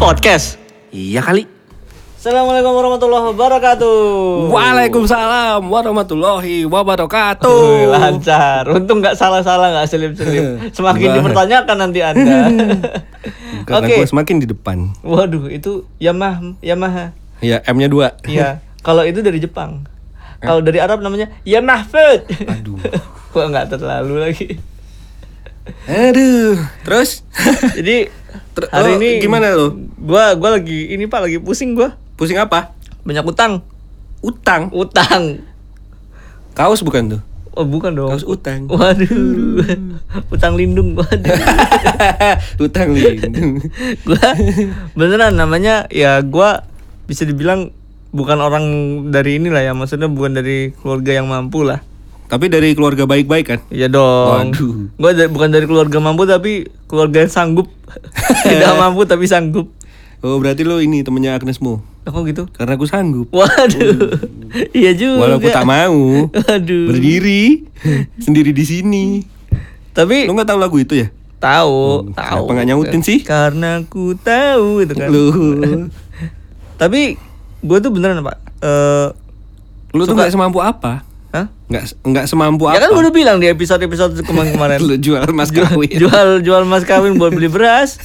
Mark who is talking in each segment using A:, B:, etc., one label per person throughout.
A: podcast.
B: Iya kali.
A: Assalamualaikum warahmatullahi wabarakatuh.
B: Oh. Waalaikumsalam warahmatullahi
A: Wih,
B: wabarakatuh.
A: lancar. Untung nggak salah-salah nggak selip-selip. Semakin
B: Wah.
A: dipertanyakan nanti Anda.
B: Karena
A: Oke.
B: gua semakin di depan.
A: Waduh, itu Yamaha, Yamaha.
B: Ya, M-nya dua.
A: Iya. Kalau itu dari Jepang. Kalau dari Arab namanya Yamaha Food.
B: Eh? Aduh.
A: Kok nggak terlalu lagi.
B: Aduh. Terus?
A: Jadi
B: Ter-
A: hari
B: lo
A: ini
B: gimana lo?
A: Gua gua lagi ini Pak lagi pusing gua.
B: Pusing apa?
A: Banyak utang.
B: Utang.
A: Utang.
B: Kaos bukan tuh?
A: Oh, bukan dong.
B: Kaos utang.
A: Waduh.
B: Hmm.
A: Utang lindung waduh.
B: utang lindung.
A: gua beneran namanya ya gua bisa dibilang bukan orang dari inilah ya maksudnya bukan dari keluarga yang mampu lah
B: Tapi dari keluarga baik-baik kan?
A: ya dong
B: Waduh.
A: gua da- bukan dari keluarga mampu tapi keluarga yang sanggup tidak mampu tapi sanggup
B: Oh, berarti lo ini temennya Agnes Mo.
A: Lah, kok gitu
B: Karena aku sanggup.
A: waduh iya juga
B: Walaupun tak mau.
A: Waduh.
B: Berdiri sendiri di sini.
A: tapi
B: Lo nggak tahu lagu itu ya?
A: tahu tahu
B: kenapa nggak nyautin sih?
A: karena ku tahu itu kan
B: Lu
A: tapi gua tuh beneran pak eh
B: lu tuh nggak semampu apa?
A: hah
B: Nggak nggak semampu
A: ya kan
B: apa?
A: gua udah bilang di episode episode kemarin kemarin
B: lu jual mas kawin.
A: jual jual mas kawin buat beli beras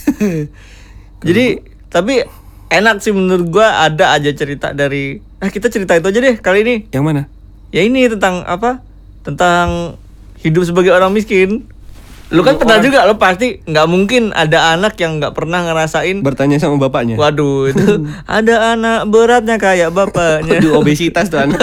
A: jadi tapi enak sih menurut gua ada aja cerita dari nah kita cerita itu aja deh kali ini
B: Yang mana?
A: ya ini tentang apa tentang hidup sebagai orang miskin lu kan pernah juga lu pasti nggak mungkin ada anak yang nggak pernah ngerasain
B: Bertanya sama bapaknya.
A: waduh itu ada anak beratnya kayak bapaknya
B: Aduh obesitas tuh anak.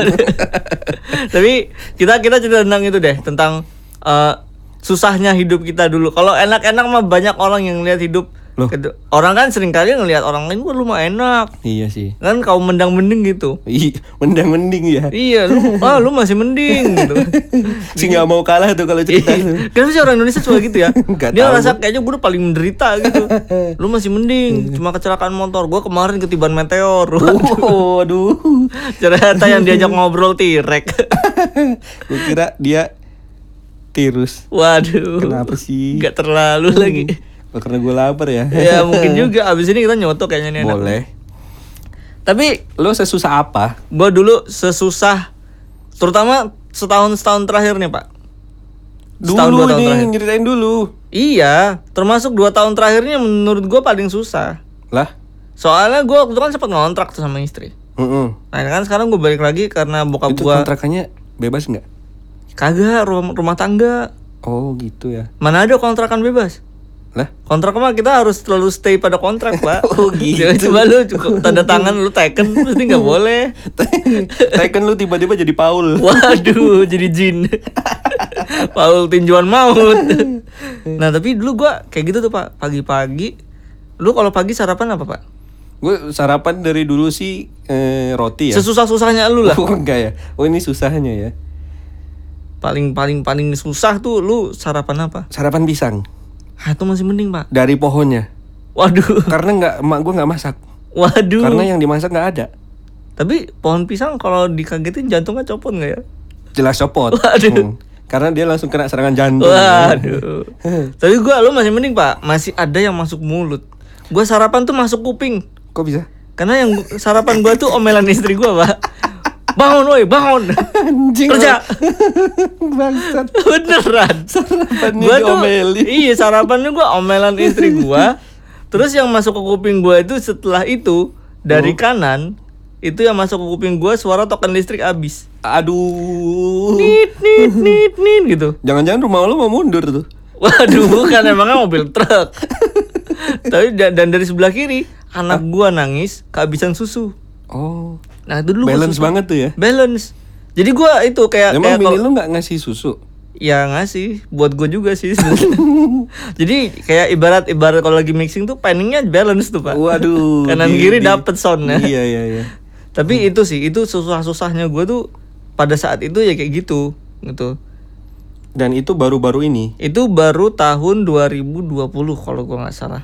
A: tapi kita kita cerita tentang itu deh tentang eh, susahnya hidup kita dulu kalau enak-enak mah banyak orang yang lihat hidup
B: Loh.
A: kedu- orang kan sering kali ngelihat orang lain wah lu mah enak
B: iya sih.
A: kan kau mendang mending gitu
B: Ih, mendang mending ya.
A: iya lu ah lu masih mending gitu Iya.
B: Si nggak mau kalah tuh kalau cerita. tuh.
A: Kenapa sih orang Indonesia suka gitu ya?
B: Nggak
A: Dia
B: tahu.
A: merasa kayaknya gue udah paling menderita gitu. Lu masih mending,
B: Iya.
A: cuma kecelakaan motor. Gue kemarin ketiban meteor.
B: Oh, aduh.
A: Ternyata yang diajak ngobrol tirek.
B: Gue kira dia tirus.
A: Waduh.
B: Kenapa sih? Hmm.
A: Gak terlalu lagi.
B: Apa Karena gue lapar ya.
A: Ya mungkin juga abis ini kita nyoto kayaknya nih. enak.
B: Boleh.
A: Tapi
B: Lu sesusah apa?
A: gua dulu sesusah terutama setahun setahun terakhir nih pak. Setahun, dua
B: Dulu
A: tahun
B: nih, nyeritain dulu.
A: Iya, termasuk dua tahun terakhirnya menurut gua paling susah.
B: Lah.
A: Soalnya gua waktu itu kan sempat ngontrak tuh sama istri.
B: Mm-mm.
A: Nah kan sekarang gue balik lagi karena bokap
B: Itu
A: gua
B: kontrakannya bebas nggak?
A: kagak rumah, rumah tangga.
B: Oh gitu ya.
A: Mana ada kontrakan bebas?
B: Lah.
A: Kontrak mah kita harus selalu stay pada kontrak, Pak.
B: Oh, gitu.
A: Coba lu cukup tanda tangan lu teken pasti nggak boleh.
B: Taken lu tiba-tiba jadi Paul.
A: Waduh, jadi jin. Paul tinjuan maut. Nah, tapi dulu gua kayak gitu tuh, Pak. Pagi-pagi lu kalau pagi sarapan apa, Pak?
B: Gue sarapan dari dulu sih eh, roti ya.
A: Sesusah-susahnya lu lah.
B: Oh, enggak ya. Oh ini susahnya ya.
A: Paling paling paling susah tuh lu sarapan apa?
B: Sarapan pisang
A: Ah, itu masih mending, Pak.
B: dari pohonnya.
A: Waduh.
B: Karena nggak emak gue nggak masak.
A: Waduh.
B: Karena yang dimasak nggak ada.
A: Tapi pohon pisang kalau dikagetin jantungnya copot nggak ya?
B: Jelas copot. Hmm.
A: Waduh.
B: Karena dia langsung kena serangan jantung.
A: Waduh. Tapi gua lu masih mending, Pak. Masih ada yang masuk mulut. Gua sarapan tuh masuk kuping.
B: Kok bisa?
A: Karena yang gu- sarapan gua tuh omelan istri gua, Pak. Bangun woi, bangun.
B: Anjing.
A: Kerja.
B: Bangsat.
A: Beneran.
B: Sarapannya
A: Gua tuh
B: diomelin.
A: Iya, sarapannya gua omelan istri gua. Terus yang masuk ke kuping gua itu setelah itu
B: Oh.
A: dari kanan itu yang masuk ke kuping gua suara token listrik habis.
B: Aduh.
A: Nit nit nit nit gitu.
B: Jangan-jangan rumah lu mau mundur tuh.
A: Waduh, bukan emangnya mobil truk. Tapi da- dan dari sebelah kiri
B: Ah.
A: anak gua nangis kehabisan susu.
B: Oh.
A: Nah, itu dulu gua
B: Balance
A: susah.
B: banget tuh ya.
A: Balance. Jadi gua itu kayak
B: Emang
A: kayak
B: bini
A: kalau-
B: lu nggak ngasih susu?
A: ya ngasih buat gua juga sih. sebenarnya. Jadi kayak ibarat ibarat kalau lagi mixing tuh panningnya balance tuh, Pak.
B: Waduh.
A: Kanan
B: di-
A: kiri
B: di-
A: dapet soundnya.
B: Iya iya iya.
A: Tapi itu sih, itu susah-susahnya gua tuh pada saat itu ya kayak gitu, gitu.
B: Dan itu baru-baru ini.
A: Itu baru tahun 2020 kalau gua nggak salah.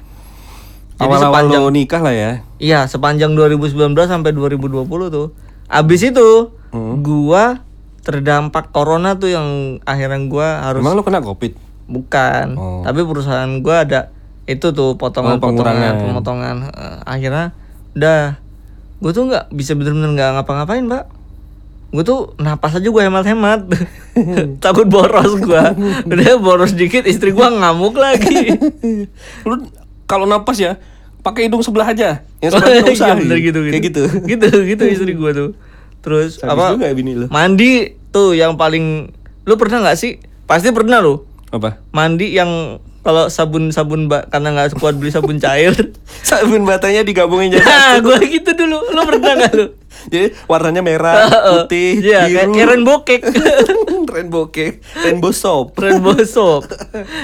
A: Jadi
B: Awal-awal
A: sepanjang-
B: lo nikah lah ya.
A: Iya, sepanjang 2019 sampai 2020 tuh. Abis itu,
B: Hmm.
A: gua terdampak corona tuh yang akhirnya gua harus
B: Emang lo kena covid?
A: bukan.
B: Oh.
A: Tapi perusahaan gua ada itu tuh potongan potongan
B: pengurangan.
A: pemotongan Eh, akhirnya udah gue tuh nggak bisa bener-bener nggak ngapa-ngapain pak gue tuh napas aja gue hemat-hemat takut boros gue udah boros dikit istri gue ngamuk lagi
B: Lu kalau napas ya pakai hidung sebelah aja. Yang sebelah nggak usah.
A: Iya, bener gitu, gitu.
B: Kayak gitu.
A: gitu gitu istri gue tuh terus
B: Sadis
A: apa
B: juga ya bini lu.
A: mandi tuh yang paling lu pernah nggak sih pasti pernah lo
B: Apa?
A: mandi yang kalau sabun sabun mbak karena nggak kuat beli sabun cair
B: Sabun batanya digabungin jadi
A: Nah,
B: satu.
A: gue gitu dulu. Lo pernah gak lu?
B: Jadi warnanya merah, putih,
A: Iya, kayak,
B: biru.
A: kayak rainbow cake.
B: rainbow cake, rainbow soap.
A: rainbow soap.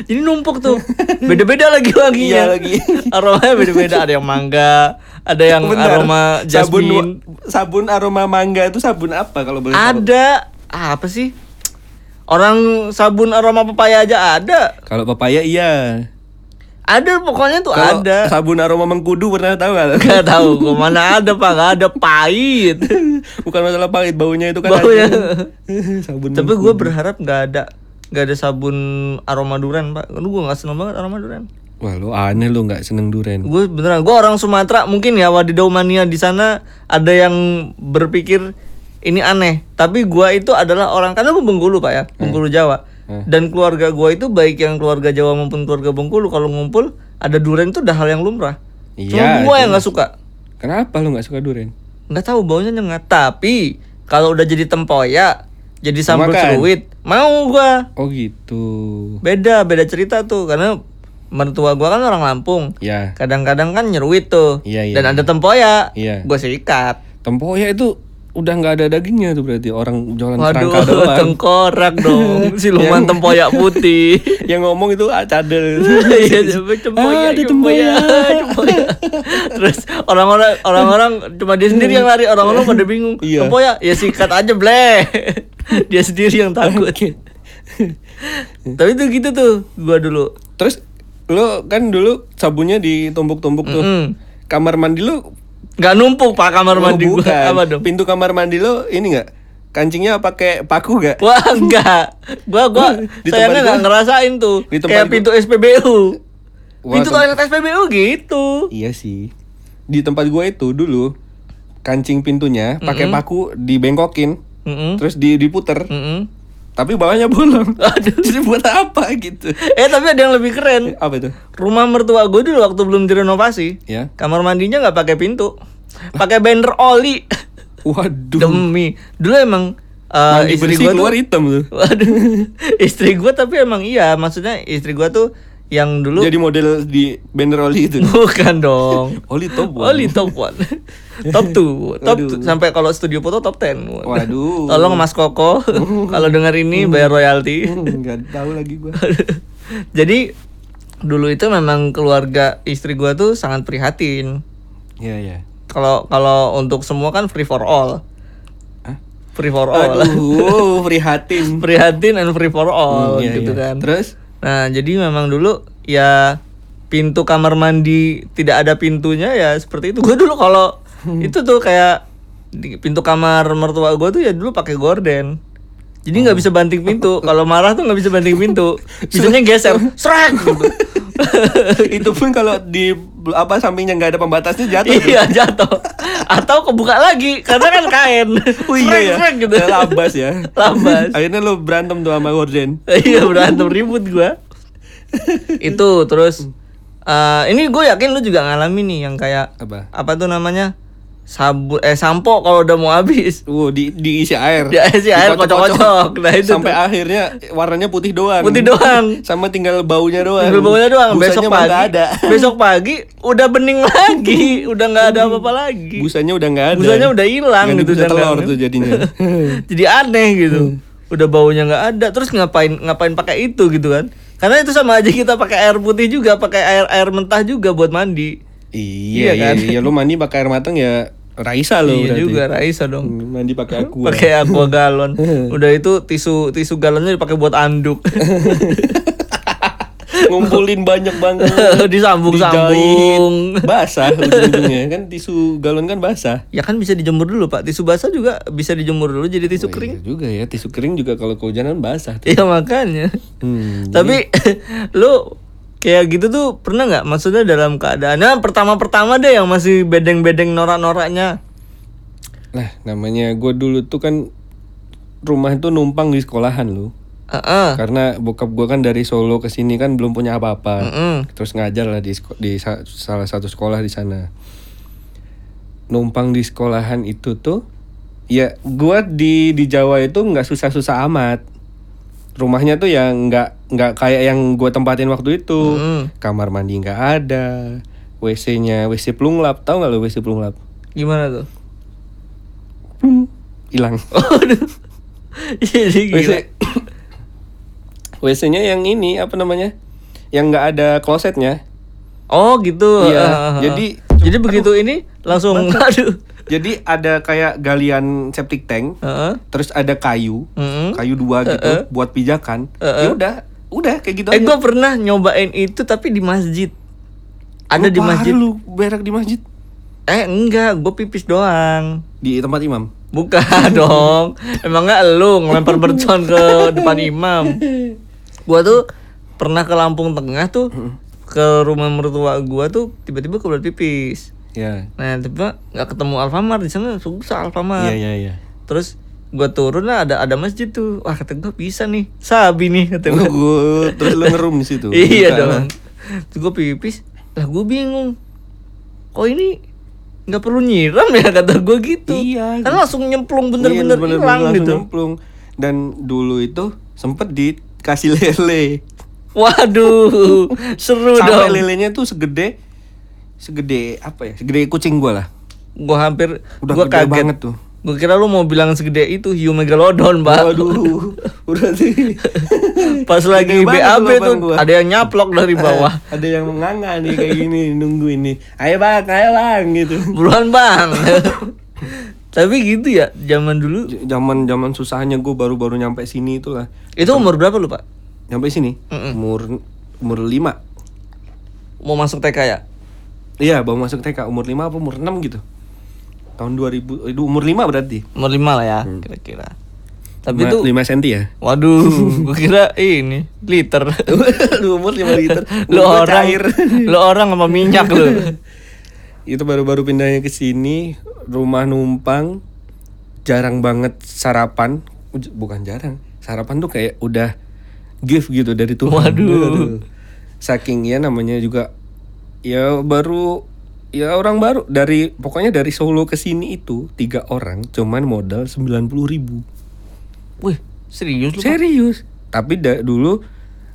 A: Jadi numpuk tuh. Beda-beda lagi wanginya.
B: Iya, lagi.
A: Aromanya beda-beda. Ada yang mangga, ada yang
B: Benar.
A: aroma
B: Sabun
A: jasmine.
B: sabun aroma mangga itu sabun apa kalau boleh tahu?
A: Ada ah, apa sih? Orang sabun aroma pepaya aja ada.
B: Kalau pepaya iya.
A: Ada pokoknya tuh
B: Kalau
A: ada.
B: sabun aroma mengkudu pernah tahu nggak?
A: Gak tahu gua mana ada pak, gak ada pahit.
B: Bukan masalah pahit baunya itu kan.
A: Baunya.
B: ada. sabun.
A: Tapi gue berharap nggak ada nggak ada sabun aroma duren pak. Lu gue nggak seneng banget aroma duren.
B: Wah lu aneh lu nggak seneng duren.
A: Gue beneran, gue orang Sumatera mungkin ya wadidau mania di sana ada yang berpikir ini aneh. Tapi gua itu adalah orang karena gue Bengkulu pak ya, Bengkulu Jawa. Dan keluarga gua itu baik yang keluarga Jawa maupun keluarga Bengkulu kalau ngumpul ada duren itu udah hal yang lumrah. Cuma
B: Iya,
A: gue yang nggak suka,
B: Kenapa lu nggak suka duren?
A: nggak tahu baunya nyengat. Tapi kalau udah jadi tempoyak, jadi sambal
B: Makan.
A: seruit, mau gua
B: Oh gitu.
A: beda beda cerita tuh karena mertua gua kan orang Lampung
B: Ya.
A: kadang-kadang kan nyeruit tuh
B: Iya, iya,
A: dan ada tempoyak
B: Iya.
A: gua sikat
B: Tempoyak ya itu udah nggak ada dagingnya tuh berarti orang jualan
A: waduh
B: kerangka doang. Iya.
A: tengkorak dong siluman tempoyak putih
B: Yang ngomong itu ah, cadel.
A: Iya, coba tempoyak,
B: Ah, ada
A: tempoyak, tempoyak. Terus orang-orang orang-orang cuma dia sendiri yang lari, orang-orang pada bingung.
B: Iya.
A: Tempoyak, ya sikat aja, bleh. dia sendiri yang takut. Tapi tuh gitu tuh gua dulu.
B: Terus lu kan dulu sabunnya ditumpuk-tumpuk tuh.
A: Mm.
B: Kamar mandi lu
A: Gak numpuk Pak kamar
B: Oh,
A: mandi gua.
B: bukan.
A: Apa dong?
B: Pintu kamar mandi lo ini nggak? Kancingnya pakai paku nggak?
A: Wah enggak, gua gua
B: Di
A: sayangnya nggak
B: tempat gua-
A: ngerasain tuh
B: di tempat
A: kayak
B: gua-
A: pintu SPBU,
B: Wah,
A: pintu
B: tem-
A: toilet SPBU gitu.
B: Iya sih. Di tempat gua itu dulu kancing pintunya pakai
A: Hmm.
B: paku dibengkokin,
A: Mm-mm.
B: terus di- diputer,
A: Mm-mm.
B: tapi bawahnya bolong. Jadi buat apa gitu?
A: Eh tapi ada yang lebih keren.
B: Apa itu?
A: Rumah mertua gua dulu waktu belum direnovasi,
B: Ya.
A: kamar mandinya nggak pakai pintu, pakai banner oli.
B: Waduh.
A: Demi dulu emang eh,
B: Mandi
A: gua
B: bersih
A: tuh-
B: keluar hitam ah, tuh.
A: Waduh, istri gua tapi emang iya, maksudnya istri gua tuh yang dulu
B: Jadi model di banner oli itu.
A: bukan dong.
B: Oli top one.
A: Oli top 1 Top 2 Top two. Sampai kalau studio foto top 10
B: Waduh.
A: Tolong Mas Koko Kalau denger ini bayar royalti
B: Hmm, nggak tahu lagi gua.
A: Jadi Dulu itu memang keluarga istri gua tuh sangat prihatin
B: Iya ya.
A: Kalau kalau untuk semua kan free for all
B: Hah?
A: Free for all
B: Aduh, prihatin.
A: Prihatin and free for all
B: Hmm, iya,
A: gitu
B: iya.
A: kan
B: Terus
A: Nah jadi memang dulu ya pintu kamar mandi tidak ada pintunya ya seperti itu. Gue dulu kalau itu tuh kayak di pintu kamar mertua gue tuh ya dulu pakai gorden. Jadi
B: Oh.
A: nggak bisa banting pintu. Kalau marah tuh nggak bisa banting pintu. Bisanya geser. Srek. gitu.
B: itu pun kalau di apa sampingnya nggak ada pembatasnya jatuh gitu. tuh.
A: iya jatuh. Atau kebuka lagi karena kan kain.
B: Oh iya ya.
A: Srek, srek, gitu.
B: Ya, labas ya.
A: Labas.
B: Akhirnya lo berantem tuh sama Gordon.
A: iya berantem ribut gua itu terus eh ini gue yakin lu juga ngalamin nih yang kayak
B: Apa?
A: apa tuh namanya sabu eh sampo kalau udah mau habis
B: Wow, Uh, di diisi air.
A: Diisi air,
B: Dikocok-kocok.
A: kocok-kocok. Nah, itu
B: sampai akhirnya warnanya putih doang.
A: Putih doang.
B: Sama tinggal baunya doang.
A: tinggal baunya doang
B: Busanya
A: besok
B: mah
A: pagi
B: nggak ada.
A: besok pagi udah bening lagi udah nggak ada apa-apa lagi
B: Busanya udah nggak ada.
A: Busanya udah hilang
B: Ganti
A: gitu,
B: busa telur
A: jangan-jangan.
B: tuh jadinya. Hmm.
A: jadi aneh gitu udah baunya nggak ada terus ngapain ngapain pakai itu gitu kan karena itu sama aja kita pakai air putih juga pakai air air mentah juga buat mandi
B: iya,
A: Iya
B: iya
A: kan?
B: iya lo mandi pakai air matang ya Raisa lo
A: iya
B: berarti.
A: juga Raisa dong
B: Hmm, Mandi pakai aku.
A: pakai aqua galon udah itu tisu tisu galonnya dipakai buat anduk
B: Ngumpulin banyak banget.
A: Gitu. disambung sambung
B: Dijahit. basah ujung-ujungnya kan tisu galon kan basah
A: ya kan bisa dijemur dulu pak tisu basah juga bisa dijemur dulu jadi tisu kering
B: Iya juga ya tisu kering juga kalau kehujanan basah tuh.
A: iya makanya
B: Hmm.
A: tapi lu kayak gitu tuh pernah nggak maksudnya dalam keadaannya pertama-pertama deh yang masih bedeng-bedeng norak-noraknya
B: Nah, namanya gue dulu tuh kan rumah tuh numpang di sekolahan lu.
A: Heeh.
B: Karena bokap gue kan dari Solo ke sini kan belum punya apa-apa.
A: Heeh.
B: Terus ngajar lah di, sko- di sa- salah satu sekolah di sana. Numpang di sekolahan itu tuh ya gua di di Jawa itu nggak susah-susah amat. Rumahnya tuh yang nggak nggak kayak yang gua tempatin waktu itu.
A: Mm.
B: Kamar mandi nggak ada. WC-nya WC pelunglap, tau nggak lu WC pelunglap?
A: gimana tuh
B: Plung, hilang.
A: jadi gila
B: WC WC-nya yang ini apa namanya? Yang nggak ada klosetnya.
A: oh gitu
B: Iya,
A: Ah.
B: jadi-
A: jadi begitu ini langsung aduh
B: Jadi ada kayak galian septic tank,
A: Heeh.
B: terus ada kayu,
A: Mm-mm.
B: kayu dua gitu buat pijakan. Ya udah, udah kayak gitu
A: eh
B: aja.
A: gue pernah nyobain itu tapi di masjid ada
B: Lu
A: di
B: parah
A: masjid
B: lu berak di masjid
A: eh enggak gue pipis doang
B: di tempat imam.
A: Bukan dong. Emang nggak lu ngelempar mercon ke depan imam. Gua tuh pernah ke Lampung Tengah tuh ke rumah mertua gua tuh tiba-tiba kebelet pipis.
B: Ya.
A: Nah, tiba nggak ketemu Alfamart di sana susah Alfamart.
B: Iya, iya, iya.
A: Terus gua turun lah ada ada masjid tuh. Wah, kata gua bisa nih. Sabi nih kata gua.
B: Gua- terus lu ngerum di situ.
A: iya
B: Bukan lah.
A: dong. Terus gua pipis, lah gua bingung. Kok ini nggak perlu nyiram ya kata gua gitu.
B: Iya.
A: Kan langsung nyemplung bener-bener hilang
B: Iya, langsung
A: gitu.
B: nyemplung. Dan dulu itu sempet dikasih lele.
A: Waduh, seru
B: sampai
A: dong.
B: lelenya tuh segede segede apa ya segede kucing gua lah
A: Gua hampir
B: udah
A: gua
B: gede
A: kaget.
B: banget tuh
A: Gua kira lu mau bilang segede itu hiu megalodon, Pak.
B: waduh udah sih
A: Pas lagi
B: Gede banget
A: BAB
B: lubang
A: tuh
B: gua.
A: ada yang nyaplok dari bawah.
B: ada yang menganga nih kayak gini nungguin nih ayo bang ayo bang gitu
A: Buruan, Bang. Tapi gitu ya zaman dulu.
B: J- zaman zaman susahnya gua baru-baru nyampe sini itulah
A: Itu umur berapa lu, Pak?
B: nyampe sini umur umur lima
A: Mau masuk TK ya?
B: iya baru masuk TK umur lima apa umur enam gitu tahun 2000 itu umur lima berarti
A: Umur 5 lah ya, kira-kira. Tapi
B: Hmm. Lima-
A: itu
B: lima senti ya
A: waduh, gua kira ini liter.
B: lu umur lima liter
A: lu
B: Umur gua
A: orang
B: cair.
A: lu orang sama minyak lu.
B: itu baru-baru pindahnya ke sini rumah numpang jarang banget sarapan Uj- bukan jarang sarapan tuh kayak udah gift gitu dari Tuhan
A: Waduh.
B: saking ya namanya juga ya baru ya orang baru dari pokoknya dari Solo ke sini itu tiga orang cuman modal 90.000 ribu
A: Wih, serius lu? Pak?
B: serius tapi da- dulu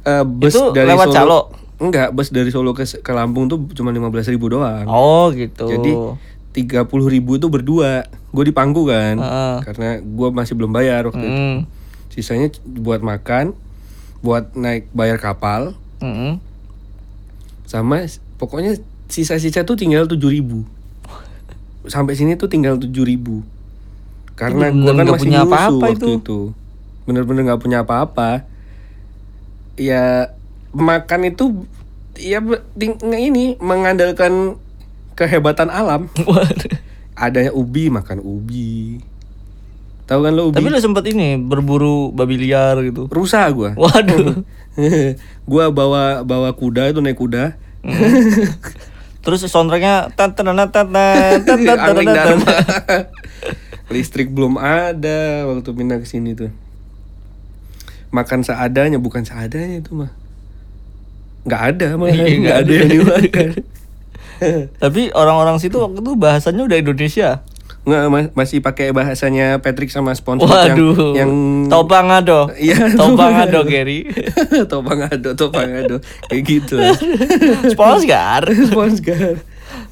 B: eh, bus
A: Itu
B: dari
A: lewat
B: Solo
A: Calo?
B: enggak bus dari Solo ke ke Lampung tuh cuma 15.000 doang
A: Oh, gitu.
B: jadi tiga puluh ribu itu berdua, gue dipangku kan,
A: Heeh.
B: karena gue masih belum bayar waktu itu.
A: Mm.
B: Sisanya c- buat makan, buat naik bayar kapal,
A: Mm-mm.
B: sama s- pokoknya sisa-sisa tuh tinggal tujuh ribu. Sampai sini tuh tinggal tujuh ribu. Karena
A: Itu
B: gue kan
A: bener-bener nggak
B: masih
A: punya
B: punya apa
A: apa-apa
B: waktu
A: itu.
B: itu. Bener-bener nggak punya apa-apa. Ya makan itu ya be- ting- ini mengandalkan kehebatan alam.
A: Waduh.
B: ada ubi makan ubi tahu kan lo ubi
A: Tapi lu sempat ini berburu babi liar gitu.
B: rusa gua
A: Waduh.
B: gua bawa bawa kuda itu naik kuda
A: Terus soundtracknya tat tat tat tat tat tat tat tat,
B: angling
A: tat.
B: dharma listrik belum ada waktu pindah ke sini tuh makan seadanya bukan seadanya itu mah nggak ada mah
A: Iya, nggak
B: nggak ada
A: ada.
B: yang dimakan
A: Tapi orang-orang situ waktu itu bahasanya udah Indonesia.
B: nggak ma- masih pakai bahasanya Patrick sama sponsor yang
A: Waduh.
B: yang
A: topang ado.
B: Iya,
A: topang
B: topang
A: ado
B: ado.
A: Gary.
B: topang ado topang ado kayak gitu lah.
A: Sponsor.
B: Sponsor.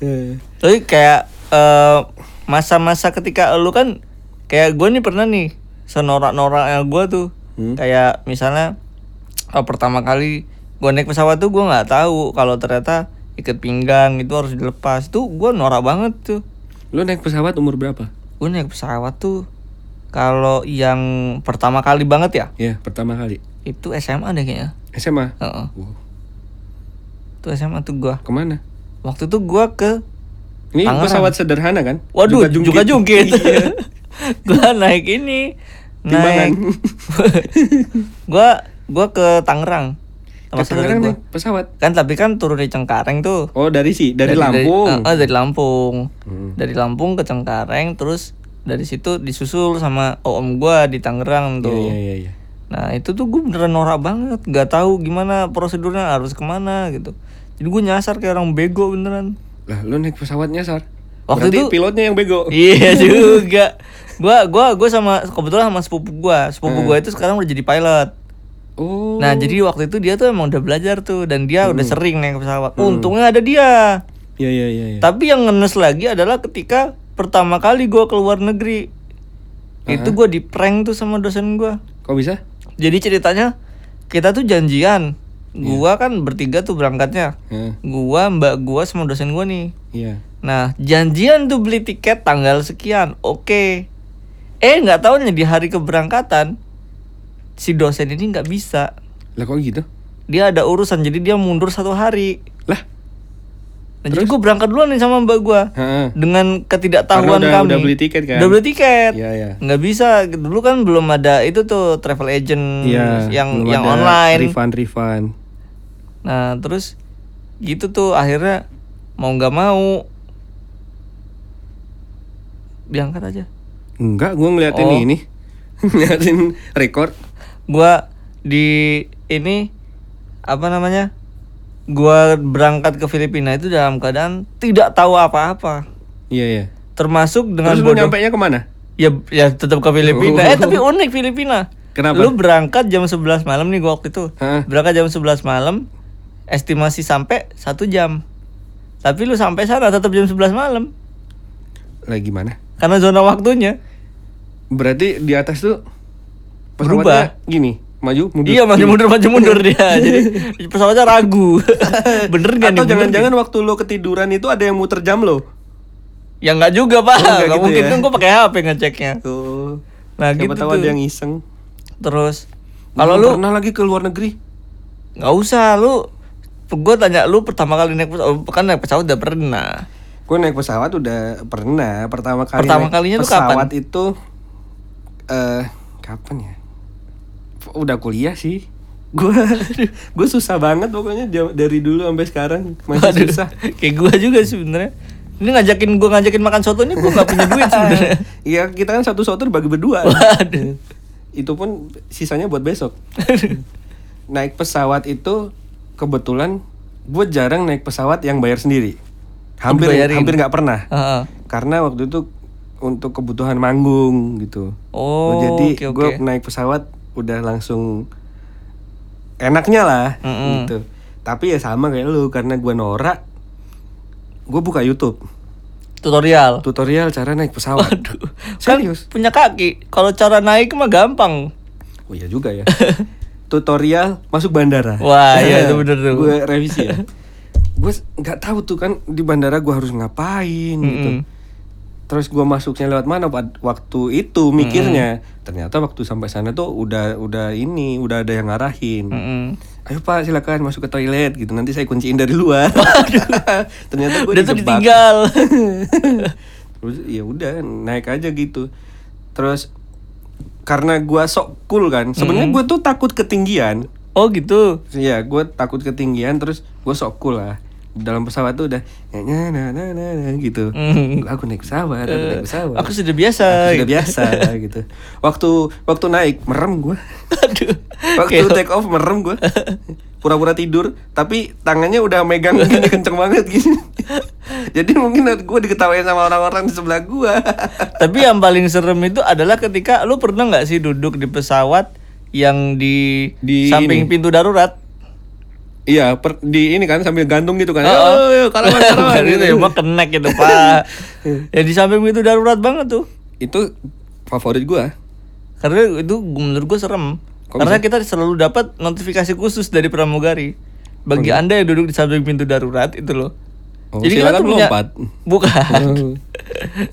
B: Eh,
A: Tapi kayak eh, masa-masa ketika lu kan kayak gue nih pernah nih senorak-noraknya gue tuh
B: Hmm.
A: kayak misalnya eh, pertama kali gue naik pesawat tuh gue nggak tahu kalau ternyata ikat pinggang itu harus dilepas tuh gue norak banget tuh
B: Lu naik pesawat umur berapa?
A: gue naik pesawat tuh kalau yang pertama kali banget ya
B: Ya, pertama kali.
A: itu SMA deh kayaknya
B: SMA.
A: Heeh.
B: Wow,
A: itu SMA tuh gue
B: Kemana?
A: waktu itu gue ke
B: Ini
A: Tangerang.
B: pesawat sederhana kan?
A: Waduh,
B: Juga-jungkit.
A: juga jungkit.
B: Iya.
A: gua naik ini.
B: Timbangan.
A: Naik. gua gua ke Tangerang. sama saudara
B: Ke Eh, Tangerang
A: gua.
B: naik pesawat.
A: Kan tapi kan turun di Cengkareng tuh.
B: Oh dari si
A: Dari,
B: dari, Lampung. Hmm.
A: ah, ah, dari Lampung. Dari Lampung ke Cengkareng terus dari situ disusul sama om gua di Tangerang
B: Iya
A: tuh.
B: iya iya. iya.
A: Nah itu tuh gue beneran norak banget Gak tahu gimana prosedurnya harus kemana gitu Jadi gue nyasar kayak orang bego beneran
B: Lah lu naik pesawatnya sar.
A: Waktu
B: Berarti
A: itu-
B: pilotnya yang bego.
A: Iya juga Gue gua, gua sama kebetulan sama sepupu gue Sepupu gua itu sekarang udah jadi pilot
B: Hmm. Oh. Hmm.
A: Nah jadi waktu itu dia tuh emang udah belajar tuh Dan dia udah sering naik pesawat Untungnya ada dia
B: Iya iya iya. iya.
A: Tapi yang ngenes lagi adalah ketika pertama kali gue keluar negeri Itu gue di prank tuh sama dosen gue
B: Kok bisa?
A: Jadi ceritanya kita tuh janjian.
B: Iya.
A: Gua kan bertiga tuh berangkatnya.
B: Heeh.
A: Gua, Mbak gua sama dosen gua nih.
B: Iya.
A: Nah, janjian tuh beli tiket tanggal sekian. Oke. Eh, nggak tahunya di hari keberangkatan si dosen ini nggak bisa.
B: Lah kok gitu?
A: Dia ada urusan jadi dia mundur satu hari.
B: Lah.
A: Nah, jadi gua berangkat duluan nih sama Mbak gua.
B: Heeh.
A: Dengan ketidaktahuan
B: Karena udah-
A: kami.
B: udah beli tiket kan?
A: Udah beli tiket.
B: Iya iya.
A: Nggak bisa. Dulu kan belum ada itu tuh travel agent
B: Iya.
A: Hmm, yang
B: belum
A: yang
B: ada
A: online.
B: Refund refund.
A: Nah terus gitu tuh akhirnya mau nggak mau diangkat aja.
B: Enggak, gua ngeliatin
A: Oh.
B: ini. ngeliatin rekor.
A: Gua di ini apa namanya? Gua berangkat ke Filipina itu dalam keadaan tidak tahu apa-apa,
B: Iya iya.
A: termasuk dengan
B: Terus lu
A: bodoh.
B: nyampe nya kemana?
A: Ya ya tetap ke Filipina. Eh tapi unik Filipina.
B: Kenapa?
A: Lu berangkat jam 11 malam nih gua waktu itu.
B: Heeh.
A: Berangkat jam 11 malam, estimasi sampai satu jam. Tapi lu sampai sana tetap jam 11 malam.
B: Lah gimana?
A: karena zona waktunya
B: Berarti di atas tuh
A: Berubah.
B: pesawatnya gini, maju mundur.
A: iya maju mundur maju mundur dia jadi pesawatnya ragu bener gak
B: Atau
A: nih bener
B: jangan-jangan waktu lo ketiduran itu ada yang muter jam lo.
A: nggak? ya nggak juga pak
B: nggak
A: Nggak
B: gitu
A: mungkin
B: ya.
A: kan gue pakai hp ngeceknya
B: Tuh.
A: nah
B: Siapa
A: gitu
B: tahu
A: tuh.
B: ada yang iseng.
A: terus kalau lu
B: pernah lagi ke luar negeri?
A: nggak usah lu gue tanya lu pertama kali naik pesawat oh, kan naik pesawat udah pernah
B: Gue naik pesawat udah pernah pertama kali.
A: Pertama
B: naik
A: kalinya tuh kapan?
B: pesawat itu eh kapan ya? Udah kuliah sih. Gue gue susah banget pokoknya jam- dari dulu sampai sekarang masih
A: Waduh,
B: susah.
A: kayak gue juga sebenarnya ini ngajakin gue ngajakin makan soto ini gue nggak punya duit sebenarnya
B: Iya kita kan satu soto bagi berdua.
A: Waduh.
B: Itu pun sisanya buat besok. naik pesawat itu kebetulan gue jarang naik pesawat yang bayar sendiri. Hampir
A: dibayarin.
B: hampir nggak pernah.
A: Heeh.
B: Karena waktu itu untuk kebutuhan manggung gitu.
A: oh
B: Jadi
A: oke oke
B: gue naik pesawat udah langsung enaknya lah gitu. Tapi ya sama kayak lu karena gue norak. Gue buka YouTube
A: tutorial
B: tutorial cara naik pesawat.
A: Aduh,
B: Serius?
A: Kan punya kaki. Kalau cara naik mah gampang.
B: Oh iya juga ya. Tutorial masuk bandara.
A: Wah, iya, itu bener tuh.
B: gue revisi ya. gue nggak tahu tuh kan di bandara gue harus ngapain gitu.
A: Mm-mm.
B: Terus gue masuknya lewat mana pad- waktu itu mikirnya. Ternyata waktu sampai sana tuh udah udah ini, udah ada yang ngarahin.
A: Mm-mm.
B: Ayo Pak, silakan masuk ke toilet gitu. Nanti saya kunciin dari luar. Ternyata gue
A: Udah tuh ditinggal.
B: Terus ya udah naik aja gitu. Terus karena gua sok cool kan. Sebenarnya gua tuh takut ketinggian.
A: oh gitu.
B: Iya, gua takut ketinggian terus gua sok cool lah. Dalam pesawat tuh udah "Nya, nya, na, na, na," gitu.
A: Mm.
B: Gua, Aku naik pesawat, aku naik pesawat.
A: Aku sudah biasa.
B: Aku sudah biasa gitu. Waktu waktu naik merem gua.
A: Aduh.
B: Waktu take off merem gua. Pura-pura tidur, tapi tangannya udah megang gini kenceng banget gini. Jadi mungkin gua diketawain sama orang-orang di sebelah gua.
A: Tapi yang paling serem itu adalah ketika lu pernah nggak sih duduk di pesawat yang di,
B: Di
A: samping
B: ini.
A: pintu darurat?
B: Iya, per, di ini kan sambil gantung gitu kan.
A: Oh, oh.
B: Oh, iya, karawan, karawan,
A: Bukan
B: gitu.
A: itu ya, mah kenek gitu, Pak. ya di samping pintu darurat banget tuh.
B: Itu favorit gua.
A: Karena itu gu- menurut gue serem.
B: Kok
A: Karena kita selalu dapat notifikasi khusus dari pramugari. Bagi anda yang duduk di samping pintu darurat itu loh.
B: gitu? Oh, silakan melompat.
A: bukan,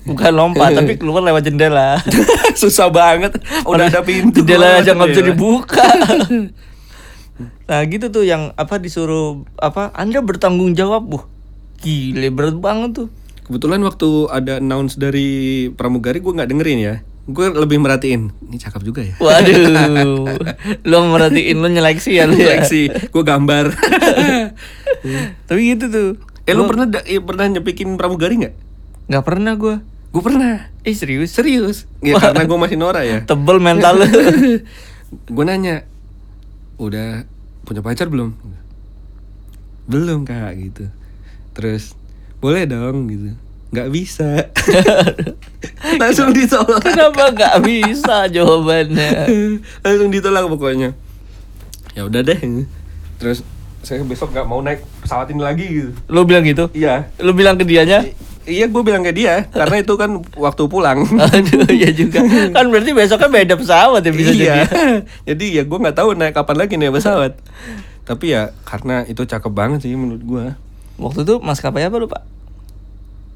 A: bukan lompat, tapi keluar lewat jendela.
B: Susah banget. Udah ada pintu. Iya.
A: jendela aja nggak bisa
B: Jendela.
A: dibuka. Iya. nah gitu tuh yang apa disuruh apa anda bertanggung jawab buh gile berat banget tuh
B: Kebetulan waktu ada announce dari pramugari gua nggak dengerin ya. gue lebih merhatiin ini cakep juga ya
A: Waduh, lo merhatiin lo nyeleksi ya lo ya?
B: koleksi gue gambar
A: Tapi gitu tuh,
B: eh lu pernah da- eh, pernah nyepikin pramugari nggak
A: nggak pernah gue.
B: gue pernah
A: Eh serius? Serius?
B: ya karena gue masih Nora ya
A: Tebel mental lo.
B: gue nanya udah punya pacar belum belum kak gitu terus boleh dong gitu nggak bisa langsung ditolak
A: Kenapa nggak bisa jawabannya?
B: Eh, langsung ditolak pokoknya ya udah deh terus saya besok nggak mau naik pesawat ini lagi gitu
A: Lo bilang gitu?
B: iya
A: Lo bilang ke dianya?
B: I- iya gue bilang ke dia karena itu kan waktu pulang
A: Aduh, ya juga. Kan berarti besoknya beda pesawat ya bisa
B: iya.
A: jadi.
B: jadi ya gue nggak tahu naik kapan lagi naik pesawat tapi ya karena itu cakep banget sih menurut gue
A: Waktu itu maskapai apa lu pak?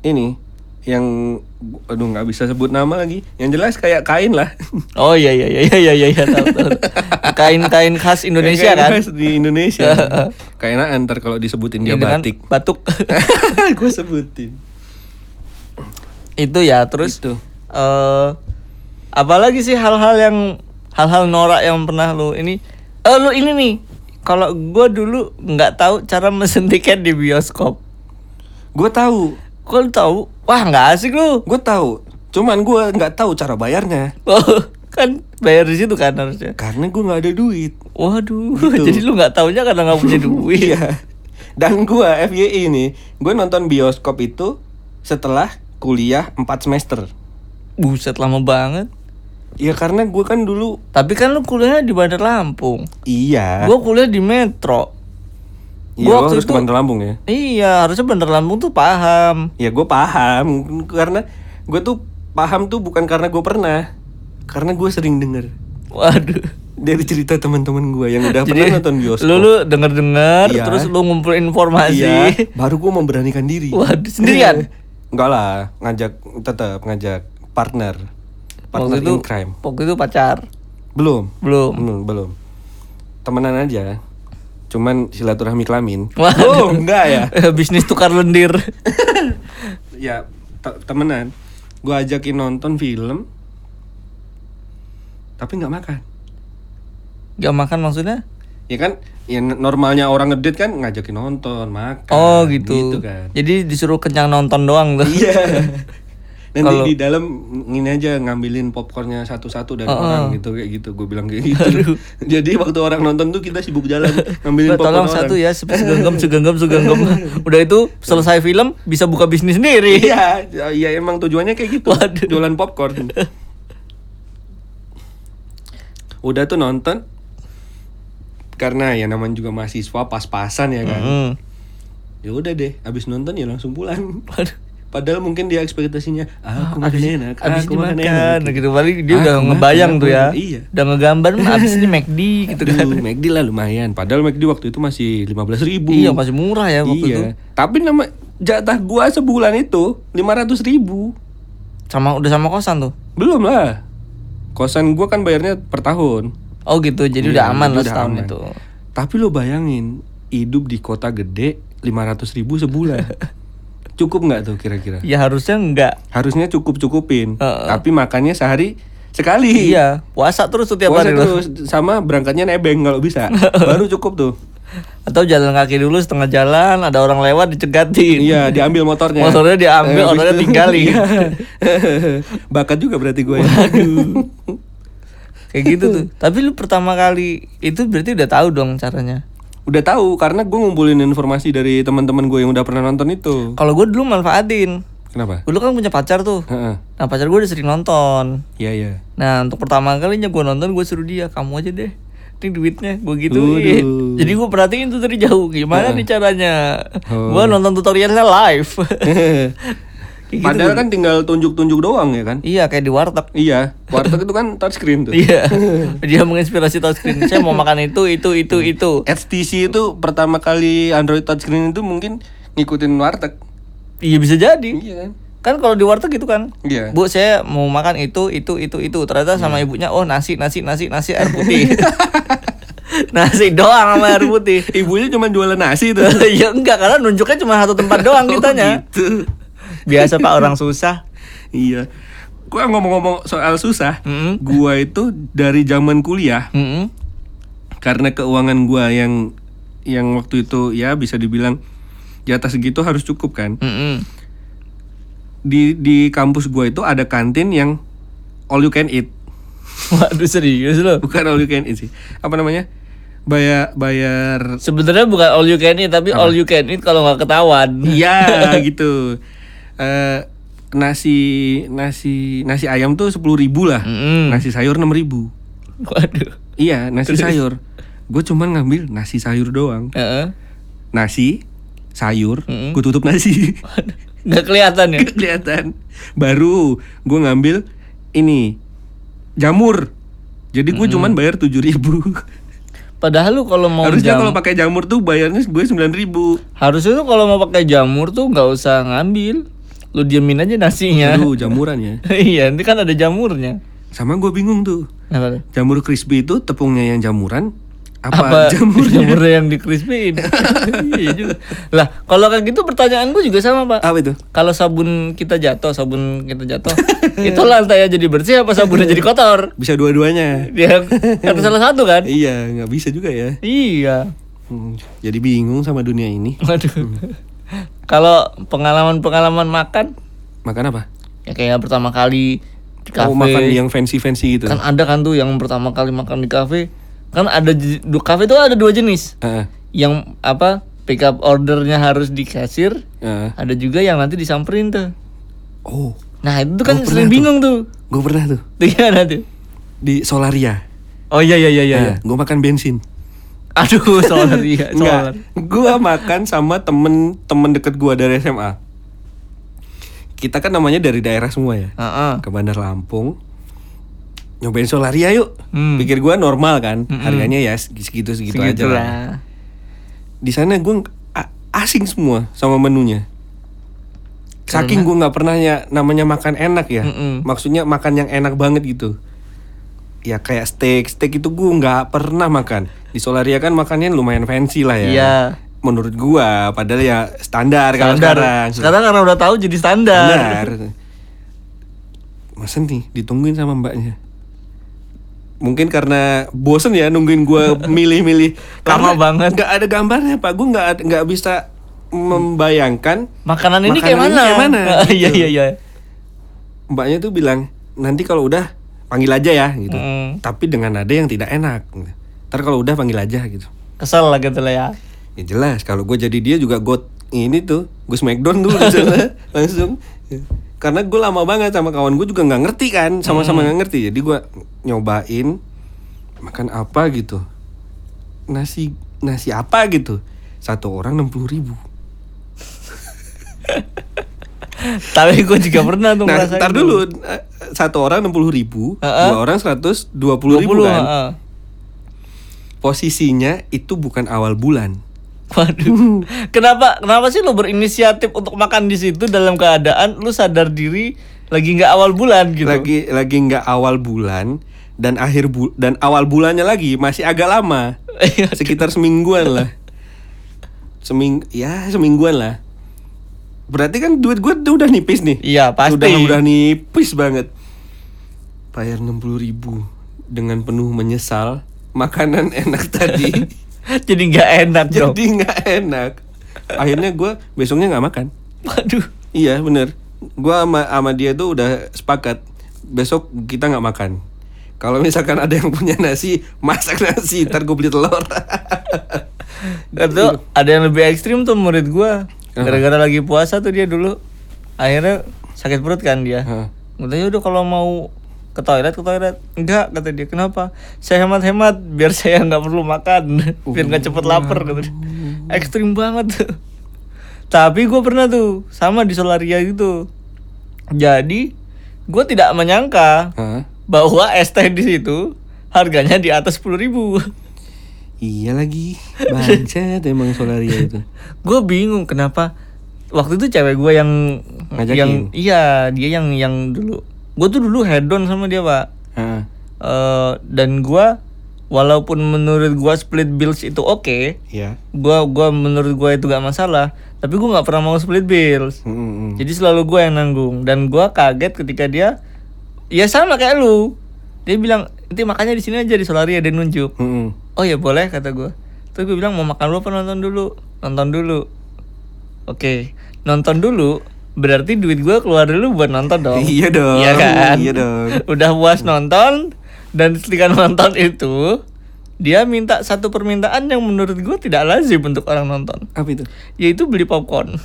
B: ini yang aduh nggak bisa sebut nama lagi yang jelas kayak kain lah
A: Oh iya iya iya iya iya iya tahu tahu. Kain-kain khas Indonesia
B: Kayak kain
A: kan?
B: khas di Indonesia kayaknya antar kalau disebutin
A: Ini
B: dia
A: dengan
B: batik
A: Batuk.
B: gue sebutin
A: itu ya terus.
B: Itu.
A: eh, apalagi sih hal-hal yang hal-hal norak yang pernah lu ini? Eh lu ini nih. Kalau gua dulu nggak tahu cara mesen tiket di bioskop.
B: gue tahu
A: Kok lu tahu? Wah nggak asik lu.
B: gue tahu cuman gue nggak tahu cara bayarnya
A: kan bayar di situ kan harusnya.
B: karena gue nggak ada duit
A: Waduh,
B: Gitu.
A: jadi lu nggak taunya karena nggak punya duit.
B: iya dan gue FYI ini gue nonton bioskop itu setelah kuliah 4 semester
A: Buset lama banget.
B: ya karena gue kan dulu
A: Tapi kan lu kuliahnya di Bandar Lampung.
B: iya
A: Gua kuliah di Metro.
B: iya
A: gua
B: lo
A: waktu
B: harus ke
A: itu-
B: Bandar Lampung ya
A: Iya, harusnya Bandar Lampung tuh paham.
B: ya gue paham karena gue tuh paham tuh bukan karena gue pernah karena gue sering denger
A: Waduh.
B: dari cerita teman-teman gue yang udah
A: Jadi
B: pernah nonton bioskop
A: lu lu denger-denger
B: Iya.
A: terus lu ngumpul informasi.
B: iya baru gue memberanikan diri
A: Waduh, sendirian?
B: enggak lah ngajak tetap ngajak partner partner
A: Waktu itu
B: in crime
A: Waktu itu pacar.
B: belum
A: Belum.
B: belum belum temenan aja cuman silaturahmi kelamin
A: Waduh.
B: belum enggak ya
A: Eh, Bisnis tukar lendir.
B: ya te- temenan gue ajakin nonton film tapi nggak makan
A: Gak makan maksudnya?
B: ya kan ya n- normalnya orang ngedit kan ngajakin nonton makan
A: Oh gitu.
B: kan
A: Jadi disuruh kenyang nonton doang tuh.
B: iya nanti
A: Kalau-
B: di dalam ini aja ngambilin popcornnya satu-satu dari
A: Oh, oh.
B: orang gitu kayak gitu gue bilang kayak gitu jadi waktu orang nonton tuh kita sibuk jalan ngambilin
A: Mbak,
B: popcorn
A: tolong
B: orang
A: satu ya se- segenggam segenggam segenggam udah itu selesai film bisa buka bisnis sendiri
B: iya iya emang tujuannya kayak gitu
A: Waduh.
B: jualan popcorn udah tuh nonton karena ya namanya juga mahasiswa pas-pasan ya kan
A: Hmm.
B: ya udah deh abis nonton ya langsung pulang
A: Waduh,
B: padahal mungkin dia ekspektasinya "Ah, aku makan
A: abis,
B: enak
A: abis
B: aku makan
A: dimakan
B: enak
A: gitu paling dia
B: Ah,
A: udah
B: kemakan,
A: ngebayang
B: aku
A: tuh ya
B: makan. iya
A: udah ngegambar "Hmm, abis ini McD gitu kan
B: Aduh, McD lah lumayan padahal McD waktu itu masih 15.000 ribu Iya.
A: iya masih murah ya waktu itu
B: tapi nama jatah gua sebulan itu 500.000 ribu
A: sama udah sama kosan tuh
B: Belum lah. Kosan gua kan bayarnya per tahun.
A: oh gitu jadi
B: Iya,
A: udah aman
B: jadi
A: lah
B: udah
A: setahun
B: aman.
A: itu
B: Tapi lo bayangin hidup di kota gede 500.000 ribu sebulan. Cukup nggak tuh kira-kira?
A: ya harusnya enggak
B: Harusnya cukup-cukupin.
A: Heeh.
B: Tapi makannya sehari sekali.
A: iya puasa terus tuh tiap
B: Puasa
A: hari loh
B: terus sama berangkatnya nebeng kalau bisa. Baru cukup tuh.
A: atau jalan kaki dulu setengah jalan ada orang lewat dicegatin
B: Iya, diambil motornya. Eh,
A: Motornya diambil,
B: habis
A: orangnya
B: itu-
A: tinggalin.
B: Iya. Bakat juga berarti gue ya.
A: kayak gitu tuh tapi lu pertama kali itu berarti udah tahu dong caranya
B: Udah tahu karena gue ngumpulin informasi dari teman-teman gue yang udah pernah nonton itu.
A: Kalau gue dulu manfaatin.
B: Kenapa?
A: Gue dulu kan punya pacar tuh.
B: Heeh.
A: Nah pacar gue udah sering nonton.
B: Iya, iya.
A: Nah untuk pertama kalinya gue nonton gue suruh dia kamu aja deh. Ini duitnya gue gitu.
B: Waduh.
A: Jadi gue perhatiin tuh dari jauh gimana nih caranya.
B: Oh.
A: Gue nonton tutorialnya live. Kayak gitu.
B: Padahal kan tinggal tunjuk-tunjuk doang ya kan?
A: Iya kayak di warteg.
B: Iya, warteg itu kan touchscreen tuh.
A: Iya. Dia menginspirasi touchscreen. Saya mau makan itu itu itu
B: Hmm.
A: itu.
B: HTC itu pertama kali Android touchscreen itu mungkin ngikutin warteg.
A: Iya bisa jadi.
B: Iya kan?
A: Kan kalau di warteg gitu kan.
B: Iya.
A: Bu saya mau makan itu itu itu itu ternyata sama ibunya oh nasi nasi nasi nasi air putih nasi doang sama air putih
B: Ibunya cuma jualan nasi tuh.
A: ya enggak karena Oh, nunjuknya cuma satu tempat doang kitanya
B: gitu.
A: biasa pak orang susah
B: Iya. gue ngomong-ngomong soal susah,
A: Mm-mm.
B: gua itu dari zaman kuliah
A: Mm-mm.
B: karena keuangan gua yang yang waktu itu ya bisa dibilang di atas segitu harus cukup kan.
A: Mm-mm.
B: Di di kampus gua itu ada kantin yang all you can eat.
A: Waduh serius lo.
B: Bukan all you can eat sih. Apa namanya? Bayar bayar
A: Sebenarnya bukan all you can eat tapi all you can eat kalau nggak ketahuan.
B: Iya gitu. Eh nasi nasi nasi ayam tuh sepuluh ribu lah.
A: Mm-mm.
B: Nasi sayur enam ribu.
A: Waduh.
B: Iya nasi sayur. Gue cuman ngambil nasi sayur doang.
A: Heeh.
B: Nasi sayur.
A: Mm-mm.
B: Gue tutup nasi.
A: Nggak kelihatan ya?
B: Nggak Kelihatan. Baru gue ngambil ini jamur. Jadi gue cuman bayar tujuh ribu.
A: Padahal lu kalau mau
B: Harusnya
A: jam-
B: kalau pakai jamur tuh bayarnya gue sembilan ribu.
A: harusnya tuh kalau mau pakai jamur tuh nggak usah ngambil. Lu diemin aja nasinya.
B: Aduh jamuran ya.
A: iya, nanti kan ada jamurnya.
B: Sama gue bingung tuh.
A: Kenapa?
B: Jamur crispy itu tepungnya yang jamuran
A: apa,
B: apa, jamurnya?
A: yang dikrispiin iya juga lah kalau kayak gitu pertanyaan gue juga sama pak
B: Apa itu?
A: kalau sabun kita jatuh sabun kita jatuh itu lantainya jadi bersih apa sabunnya jadi kotor
B: Bisa dua-duanya.
A: dia harus salah satu kan
B: Iya, nggak bisa juga ya.
A: iya
B: Hmm, Jadi bingung sama dunia ini.
A: waduh kalau pengalaman pengalaman makan
B: Makan apa?
A: ya kayak pertama kali di kafe
B: Mau makan yang fancy-fancy gitu.
A: kan ada kan tuh yang pertama kali makan di kafe kan ada j- du- kafe itu ada dua jenis
B: Heeh.
A: yang apa pick up ordernya harus di kasir
B: heeh.
A: ada juga yang nanti disamperin tuh
B: Oh,
A: nah itu kan
B: pernah
A: sering
B: tuh.
A: bingung tuh
B: gue pernah tuh
A: tuh gimana tuh
B: di Solaria.
A: oh iya iya iya
B: gue Nah, makan bensin.
A: Ah. aduh solar iya solar
B: Enggak, gue makan sama temen-temen deket gue dari SMA. Kita kan namanya dari daerah semua ya.
A: Heeh.
B: ke Bandar Lampung nyobain solaria yuk
A: Hmm.
B: pikir gua normal kan harganya ya segitu segitu aja
A: Segitu
B: lah.
A: lah
B: di sana gua ng- a- asing semua sama menunya saking gua nggak pernah ya namanya makan enak ya
A: Mm-mm.
B: maksudnya makan yang enak banget gitu ya kayak steak steak itu gua nggak pernah makan di solaria kan makannya lumayan fancy lah ya
A: Iya.
B: menurut gua padahal ya standar, kalau
A: standar
B: sekarang
A: sekarang karena udah tahu jadi standar
B: Benar. Masa nih ditungguin sama mbaknya. Mungkin karena bosen ya nungguin gua milih-milih.
A: Lama
B: Karena
A: banget.
B: Nggak ada gambarnya pak. Gue nggak ad- nggak bisa membayangkan.
A: makanan ini
B: Makanan
A: kayak
B: ini
A: mana
B: kayak mana,
A: Ah, iya
B: gitu.
A: iya iya
B: Mbaknya tuh bilang nanti kalau udah panggil aja ya gitu.
A: Mm.
B: Tapi dengan nada yang tidak enak. Ntar kalau udah panggil aja gitu.
A: kesel lah gitu lah ya
B: Ya jelas kalau gue jadi dia juga gue ini tuh gue smackdown dulu di sana, langsung Ya. karena gue lama banget sama kawan gue juga nggak ngerti kan sama-sama
A: Hmm.
B: nggak ngerti jadi gue nyobain makan apa gitu nasi nasi apa gitu satu orang enam puluh ribu
A: tapi gue juga pernah tuh
B: nah
A: ngerasain
B: ntar
A: tuh.
B: dulu eh, satu orang enam puluh ribu
A: Heeh.
B: dua orang seratus dua
A: 20
B: puluh ribu kan
A: heeh.
B: posisinya itu bukan awal bulan
A: Waduh, kenapa kenapa sih lo berinisiatif untuk makan di situ dalam keadaan lu sadar diri lagi nggak awal bulan gitu?
B: lagi lagi nggak awal bulan dan akhir bu dan awal bulannya lagi masih agak lama
A: Iya.
B: sekitar semingguan lah seming ya semingguan lah berarti kan duit gue tuh udah nipis nih
A: Iya, pasti.
B: udah udah nipis banget bayar enam puluh ribu dengan penuh menyesal makanan enak tadi
A: Jadi nggak enak dong.
B: jadi nggak enak akhirnya gue besoknya nggak makan
A: Waduh,
B: Iya bener Gua sama, sama dia tuh udah sepakat Besok kita nggak makan Kalau misalkan ada yang punya nasi Masak nasi Ntar gue beli telur
A: itu ada yang lebih ekstrim tuh murid gua. Gara-gara lagi puasa tuh dia dulu akhirnya sakit perut kan dia.
B: Hah.
A: Udah udah kalau mau ke toilet ke toilet enggak kata dia kenapa saya hemat-hemat biar saya nggak perlu makan biar nggak cepet lapar kata dia. ekstrim banget tuh tapi gue pernah tuh sama di solaria gitu jadi gue tidak menyangka
B: Hah?
A: bahwa es teh di situ harganya di atas sepuluh ribu.
B: Iya lagi Bancet emang solaria itu
A: gue bingung kenapa waktu itu cewek gue yang
B: Ngajakin?
A: yang iya dia yang yang dulu gue tuh dulu head on sama dia pak
B: Hah.
A: Eh, dan gue walaupun menurut gue split bills itu oke
B: Iya
A: gua gua menurut gue itu gak masalah tapi gue nggak pernah mau split bills
B: Mm-mm.
A: jadi selalu gue yang nanggung dan gue kaget ketika dia ya sama kayak lu dia bilang nanti makannya di sini aja di Solaria dan nunjuk
B: Mm-mm.
A: oh ya boleh kata gue terus gue bilang mau makan lu apa nonton dulu nonton dulu oke nonton dulu berarti duit gue keluar dulu buat nonton dong
B: Iya dong.
A: iya kan
B: Iya dong.
A: udah puas nonton dan ketika nonton itu dia minta satu permintaan yang menurut gue tidak lazim untuk orang nonton
B: Apa itu?
A: yaitu beli popcorn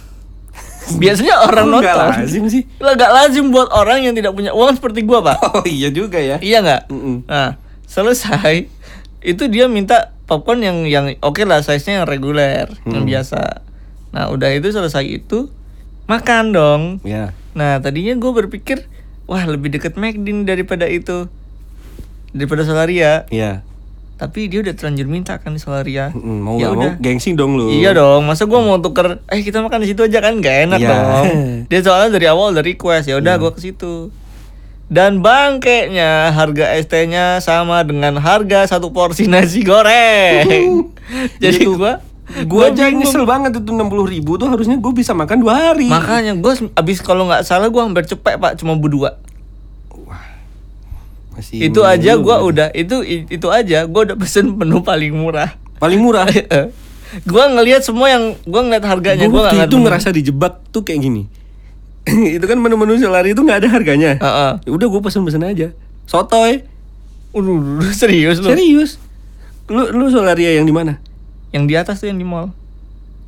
A: biasanya orang
B: Kok nggak
A: nonton
B: lazim sih.
A: lah gak lazim buat orang yang tidak punya uang seperti gua pak
B: Oh iya juga ya.
A: iya nggak
B: Mm-mm.
A: nah selesai itu dia minta popcorn yang yang oke lah size nya yang reguler
B: Hmm.
A: yang biasa nah udah itu selesai itu makan dong
B: Ya.
A: nah tadinya gue berpikir wah lebih deket McD nih daripada itu daripada Solaria
B: Iya.
A: tapi dia udah terlanjur minta kan di Solaria
B: Mm-mm, Mau
A: Ya
B: nggak mau
A: udah.
B: gengsi dong lu.
A: Iya dong, masa gua mau tuker, eh kita makan di situ aja kan gak enak
B: Iya.
A: dong. Dia soalnya dari awal udah request ya udah gua ke situ. Dan bangkeknya harga ST-nya sama dengan harga satu porsi nasi goreng. Jadi
B: Gitu.
A: gua
B: Uhuh. Gua aja
A: bingung.
B: nyesel banget itu 60 ribu tuh harusnya gue bisa makan dua hari.
A: Makanya gua sem- abis kalau nggak salah gua hampir cepet pak cuma berdua.
B: Masih
A: Itu
B: mending
A: aja
B: lu.
A: gua udah itu i- itu aja gua udah pesen menu paling murah.
B: paling murah.
A: gua ngelihat semua yang gua ngeliat harganya
B: Gue
A: gua nggak
B: waktu
A: ngeliat
B: itu
A: menu.
B: ngerasa dijebak tuh kayak gini. itu kan menu-menu selari itu nggak ada harganya.
A: Heeh.
B: Ya udah gue pesen-pesen aja. Sotoy.
A: Waduh, serius lu?
B: Serius. Lu lu solaria yang di mana?
A: Yang di atas tuh yang di mall.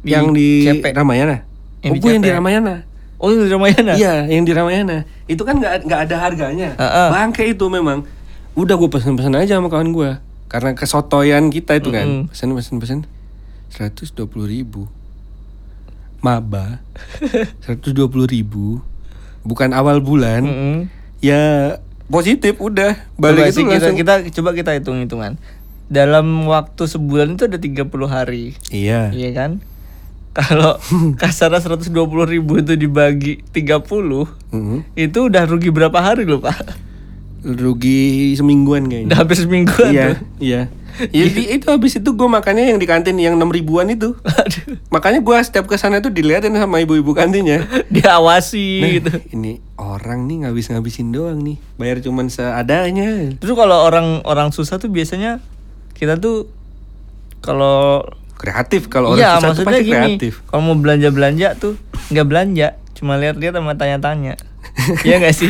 B: yang di
A: CP.
B: Ramayana.
A: Yang
B: oh,
A: di
B: gue yang di
A: CP.
B: Ramayana.
A: Oh, yang di Ramayana.
B: Iya, yang di Ramayana. Itu kan nggak nggak ada harganya.
A: Heeh.
B: Bangke itu memang. Udah gue pesen-pesen aja sama kawan gue. Karena kesotoyan kita itu kan.
A: Mm-mm.
B: Pesen pesen pesen. Seratus ribu. Maba. 120.000 ribu. Bukan awal bulan.
A: Mm-mm.
B: Ya positif udah.
A: Mm. Coba
B: Balik itu
A: sih kita,
B: langsung.
A: kita coba kita hitung-hitungan. Dalam waktu sebulan itu ada 30 hari.
B: Iya.
A: Iya kan? Kalau kasarnya 120 ribu itu dibagi 30
B: Mm-mm.
A: itu udah rugi berapa hari loh pak?
B: Rugi semingguan kayaknya.
A: Udah hampir semingguan
B: iya,
A: tuh.
B: iya. Ya, di- itu habis itu gue makannya yang di kantin yang enam ribuan itu.
A: Aduh,
B: Makanya gue setiap kesana tuh diliatin sama ibu-ibu kantinnya. Nah,
A: diawasi gitu.
B: Ini orang nih ngabis-ngabisin doang nih. Bayar cuman seadanya.
A: Terus kalau orang orang susah tuh biasanya kita tuh kalau
B: Kreatif kalau orang
A: iya,
B: susah tuh
A: maksudnya
B: pasti
A: gini,
B: kreatif.
A: Kalau mau belanja-belanja tuh nggak belanja, cuma lihat-lihat sama tanya-tanya. Iya nggak sih?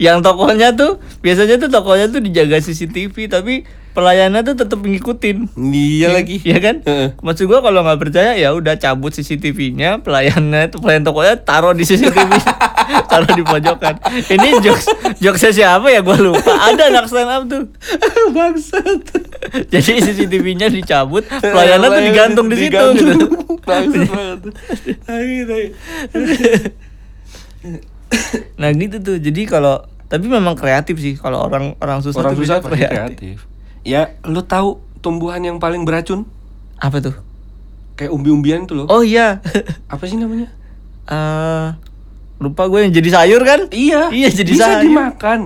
A: Yang tokonya tuh biasanya tuh tokonya tuh dijaga CCTV tapi pelayannya tuh tetap ngikutin.
B: Iya lagi.
A: Iya kan?
B: Heeh.
A: Maksud gua kalau nggak percaya ya udah cabut CCTV-nya, pelayannya tuh pelayan tokonya taruh di CCTV. taruh di pojokan. Ini jokes jokesnya siapa ya gua lupa. Ada anak stand up tuh.
B: Bangsat.
A: Jadi CCTV-nya dicabut, pelayannya tuh
B: Pelayan
A: digantung di situ
B: digantung.
A: gitu.
B: Bangsat banget. Tai, tai.
A: Nah gitu tuh. Jadi kalau tapi memang kreatif sih kalau orang orang susah
B: Orang
A: tuh
B: susah
A: bisa
B: pasti kreatif. Ya, lu tahu tumbuhan yang paling beracun?
A: Apa tuh?
B: Kayak umbi-umbian tuh loh.
A: Oh iya.
B: Apa sih namanya?
A: Eh lupa gue yang jadi sayur kan?
B: Iya.
A: Iya, jadi
B: bisa
A: sayur.
B: dimakan.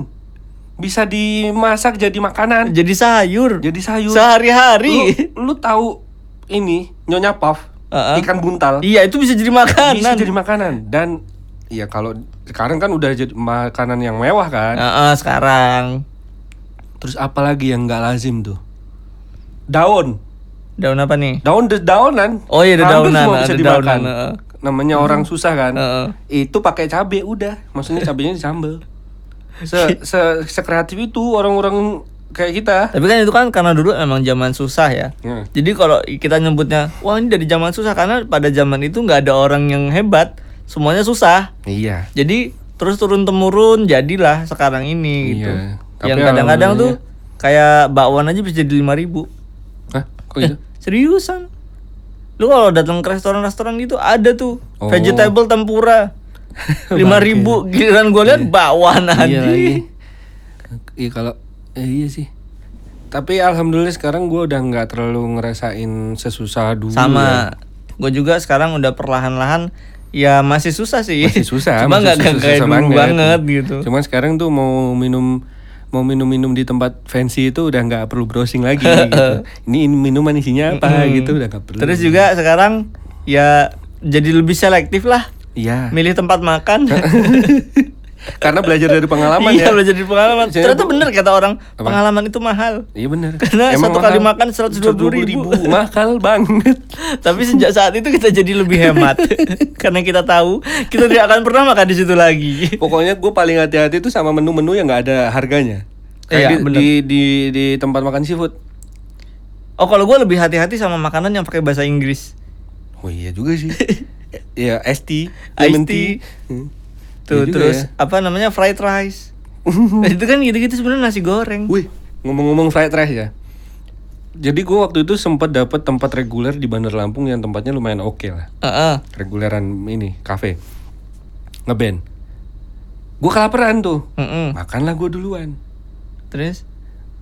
B: Bisa dimasak jadi makanan.
A: Jadi sayur.
B: Jadi sayur.
A: Sehari-hari.
B: Lu, lu tahu ini Nyonya Puff,
A: Uh-uh.
B: ikan buntal.
A: Iya, itu bisa jadi makanan.
B: Bisa jadi makanan dan ya kalau sekarang kan udah jadi makanan yang mewah kan.
A: Heeh, sekarang.
B: Terus apalagi yang nggak lazim tuh? Daun.
A: Daun apa nih?
B: Daun de dedaunan.
A: Oh iya,
B: Hampir
A: dedaunan,
B: semua
A: ah,
B: bisa
A: dedaunan,
B: dimakan.
A: uh-uh.
B: Namanya orang susah kan.
A: Uh-uh.
B: Itu pakai cabe udah. Maksudnya cabenya disambel. Se se sekreatif itu orang-orang kayak kita.
A: Tapi kan itu kan karena dulu emang zaman susah ya.
B: Ya.
A: Jadi kalau kita nyebutnya, wah ini dari zaman susah karena pada zaman itu nggak ada orang yang hebat, semuanya susah.
B: Iya.
A: Jadi terus turun temurun jadilah sekarang ini gitu.
B: Iya, tapi
A: Yang kadang-kadang tuh
B: alhamdulillahnya-
A: kayak bakwan aja bisa jadi lima ribu.
B: Hah?
A: Eh,
B: Kok gitu?
A: Seriusan? Lu kalau datang ke restoran-restoran gitu ada tuh
B: Oh.
A: vegetable tempura lima ribu. Giliran gue lihat bakwan
B: iya lagi.
A: aja.
B: Iya kalau eh, iya sih. Tapi alhamdulillah sekarang gue udah nggak terlalu ngerasain sesusah dulu. ya.
A: Sama. Gue juga sekarang udah perlahan-lahan ya masih susah sih.
B: Masih susah.
A: Cuma
B: masih
A: nggak nggak
B: susah-
A: kayak
B: susah
A: dulu banget. gitu.
B: Cuman sekarang tuh mau minum mau minum-minum di tempat fancy itu udah nggak perlu browsing lagi. gitu. Ini ini minuman isinya apa
A: Mm-mm.
B: gitu udah nggak perlu.
A: Hmm. Terus juga sekarang ya jadi lebih selektif lah
B: Iya.
A: milih tempat makan.
B: Karena belajar dari pengalaman
A: iya
B: ya.
A: belajar dari pengalaman
B: Saya-
A: ternyata bener kata orang pengalaman itu mahal
B: Iya benar.
A: Karena satu kali makan 120.000.
B: Mahal banget.
A: tapi sejak saat itu kita jadi lebih hemat karena kita tahu kita tidak akan pernah makan di situ lagi
B: Pokoknya gue paling hati-hati tuh sama menu-menu yang nggak ada harganya.
A: Iya,
B: Kayak di,
A: bener.
B: di, di, di tempat makan seafood.
A: oh kalau gue lebih hati-hati sama makanan yang pakai bahasa Inggris
B: Oh iya juga sih. Iya, iced tea,
A: Iced
B: lemon
A: tea.
B: tea. Hmm.
A: tuh
B: Iya juga
A: terus
B: ya.
A: apa namanya fried rice Nah, itu kan gitu-gitu sebenarnya nasi goreng
B: Wih, ngomong-ngomong fried rice ya. Jadi gue waktu itu sempat dapet tempat reguler di Bandar Lampung yang tempatnya lumayan oke lah.
A: Heeh.
B: Reguleran ini, kafe. Ngeband. Gue kelaperan tuh.
A: Heeh.
B: Makanlah gue duluan.
A: terus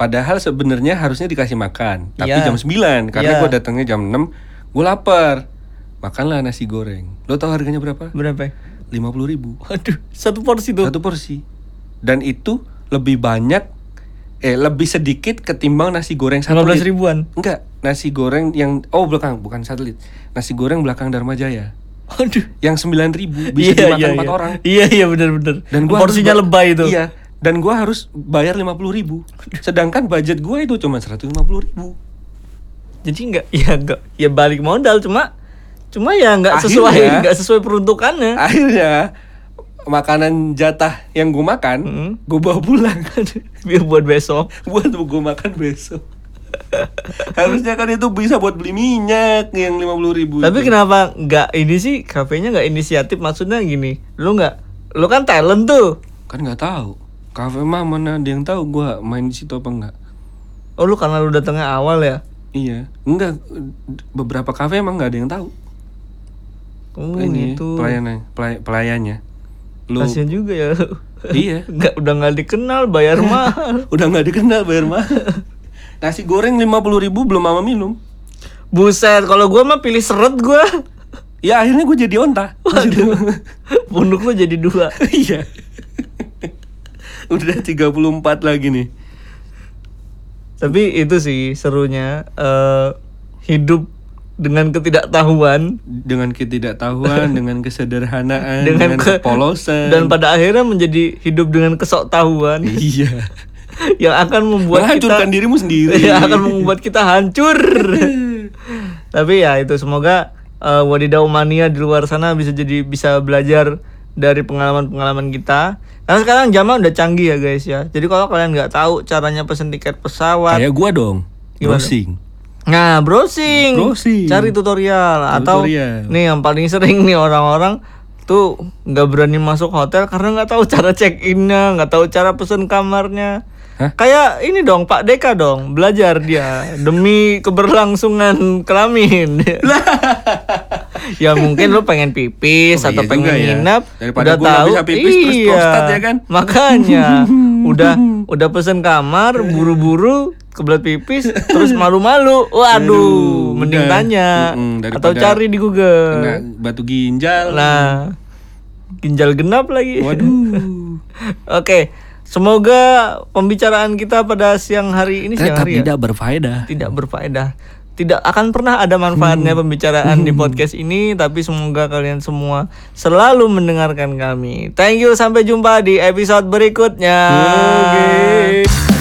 B: Padahal sebenarnya harusnya dikasih makan, tapi
A: Iya.
B: jam 9 karena
A: Iya.
B: gua datangnya jam 6, gue lapar. Makanlah nasi goreng. Lo tau harganya berapa?
A: berapa ya?
B: 50.000 ribu
A: Waduh, satu porsi tuh.
B: satu porsi. Dan itu lebih banyak eh lebih sedikit ketimbang nasi goreng satelit.
A: 15 ribuan.
B: Enggak, nasi goreng yang oh belakang bukan satelit. Nasi goreng belakang Dharma Jaya
A: Waduh.
B: yang 9.000 bisa
A: Iya,
B: dimakan
A: iya,
B: empat
A: iya.
B: orang.
A: Iya, iya benar-benar.
B: Dan gua
A: porsinya
B: harus ba-
A: lebay itu.
B: Iya. Dan gua harus bayar 50.000 ribu Sedangkan budget gua itu cuma 150.000 ribu
A: Jadi enggak ya enggak ya balik modal cuma cuma ya enggak
B: Akhirnya-
A: sesuai enggak sesuai peruntukannya.
B: Akhirnya makanan jatah yang gue makan,
A: Mm.
B: gue bawa pulang
A: Biar buat besok.
B: buat gue makan besok. Harusnya kan itu bisa buat beli minyak yang lima puluh ribu.
A: Tapi kenapa enggak ini sih kafenya enggak inisiatif maksudnya gini. Lu enggak lu kan talent tuh.
B: kan nggak tahu. Kafe mah mana ada yang tahu gue main di situ apa enggak?
A: Oh lu karena lu datangnya awal ya.
B: Iya, enggak. Beberapa kafe emang nggak ada yang tahu.
A: Oh
B: ini
A: gitu.
B: pelayanannya, pelay- pelayannya. Lu
A: Kasian juga ya. lu.
B: iya.
A: Enggak udah enggak dikenal bayar mahal.
B: Udah nggak dikenal bayar mahal. Nasi goreng lima puluh ribu belum mama minum.
A: Buset, kalau gua mah pilih seret gua.
B: Ya akhirnya gue jadi onta. di situ.
A: Punduk lu jadi dua.
B: Iya. Udah 34 lagi nih.
A: Tapi itu sih serunya eh, hidup dengan ketidaktahuan
B: Dengan ketidaktahuan, dengan kesederhanaan, dengan,
A: dengan, ke-
B: kepolosan.
A: dan pada akhirnya menjadi hidup dengan kesoktahuan
B: iya.
A: yang akan membuat
B: Menghancurkan
A: kita
B: dirimu sendiri.
A: yang Iya, akan membuat kita hancur. Tapi ya itu semoga eh, wadidaw mania di luar sana bisa jadi bisa belajar dari pengalaman-pengalaman kita. Karena sekarang zaman udah canggih ya guys ya. Jadi kalau kalian nggak tahu caranya pesen tiket pesawat,
B: Kayak gua dong.
A: Gimana?
B: Browsing.
A: Nah, browsing.
B: Browsing.
A: Cari tutorial atau
B: Tutorial.
A: nih yang paling sering nih orang-orang tuh nggak berani masuk hotel karena nggak tahu cara check innya, nggak tahu cara pesen kamarnya.
B: Hah?
A: Kayak ini dong Pak Deka dong belajar dia demi keberlangsungan kelamin. ya mungkin lu pengen pipis
B: Oh,
A: atau
B: iya
A: pengen
B: juga ya.
A: nginep
B: Daripada
A: udah
B: gua nggak
A: tahu
B: bisa pipis, terus
A: iya
B: prostat ya kan?
A: makanya udah udah pesen kamar buru-buru kebelet pipis terus malu-malu waduh
B: Aduh,
A: mending
B: udah.
A: tanya
B: Mm-mm,
A: atau
B: daripada
A: cari di
B: Kena
A: Google
B: batu ginjal.
A: nah ginjal genap lagi
B: Waduh.
A: oke semoga pembicaraan kita pada siang hari ini siang hari ya?
B: berfaedah.
A: tidak berfaedah. Tidak akan pernah ada manfaatnya pembicaraan di podcast ini, tapi semoga kalian semua selalu mendengarkan kami. Thank you, sampai jumpa di episode berikutnya.
B: Oke.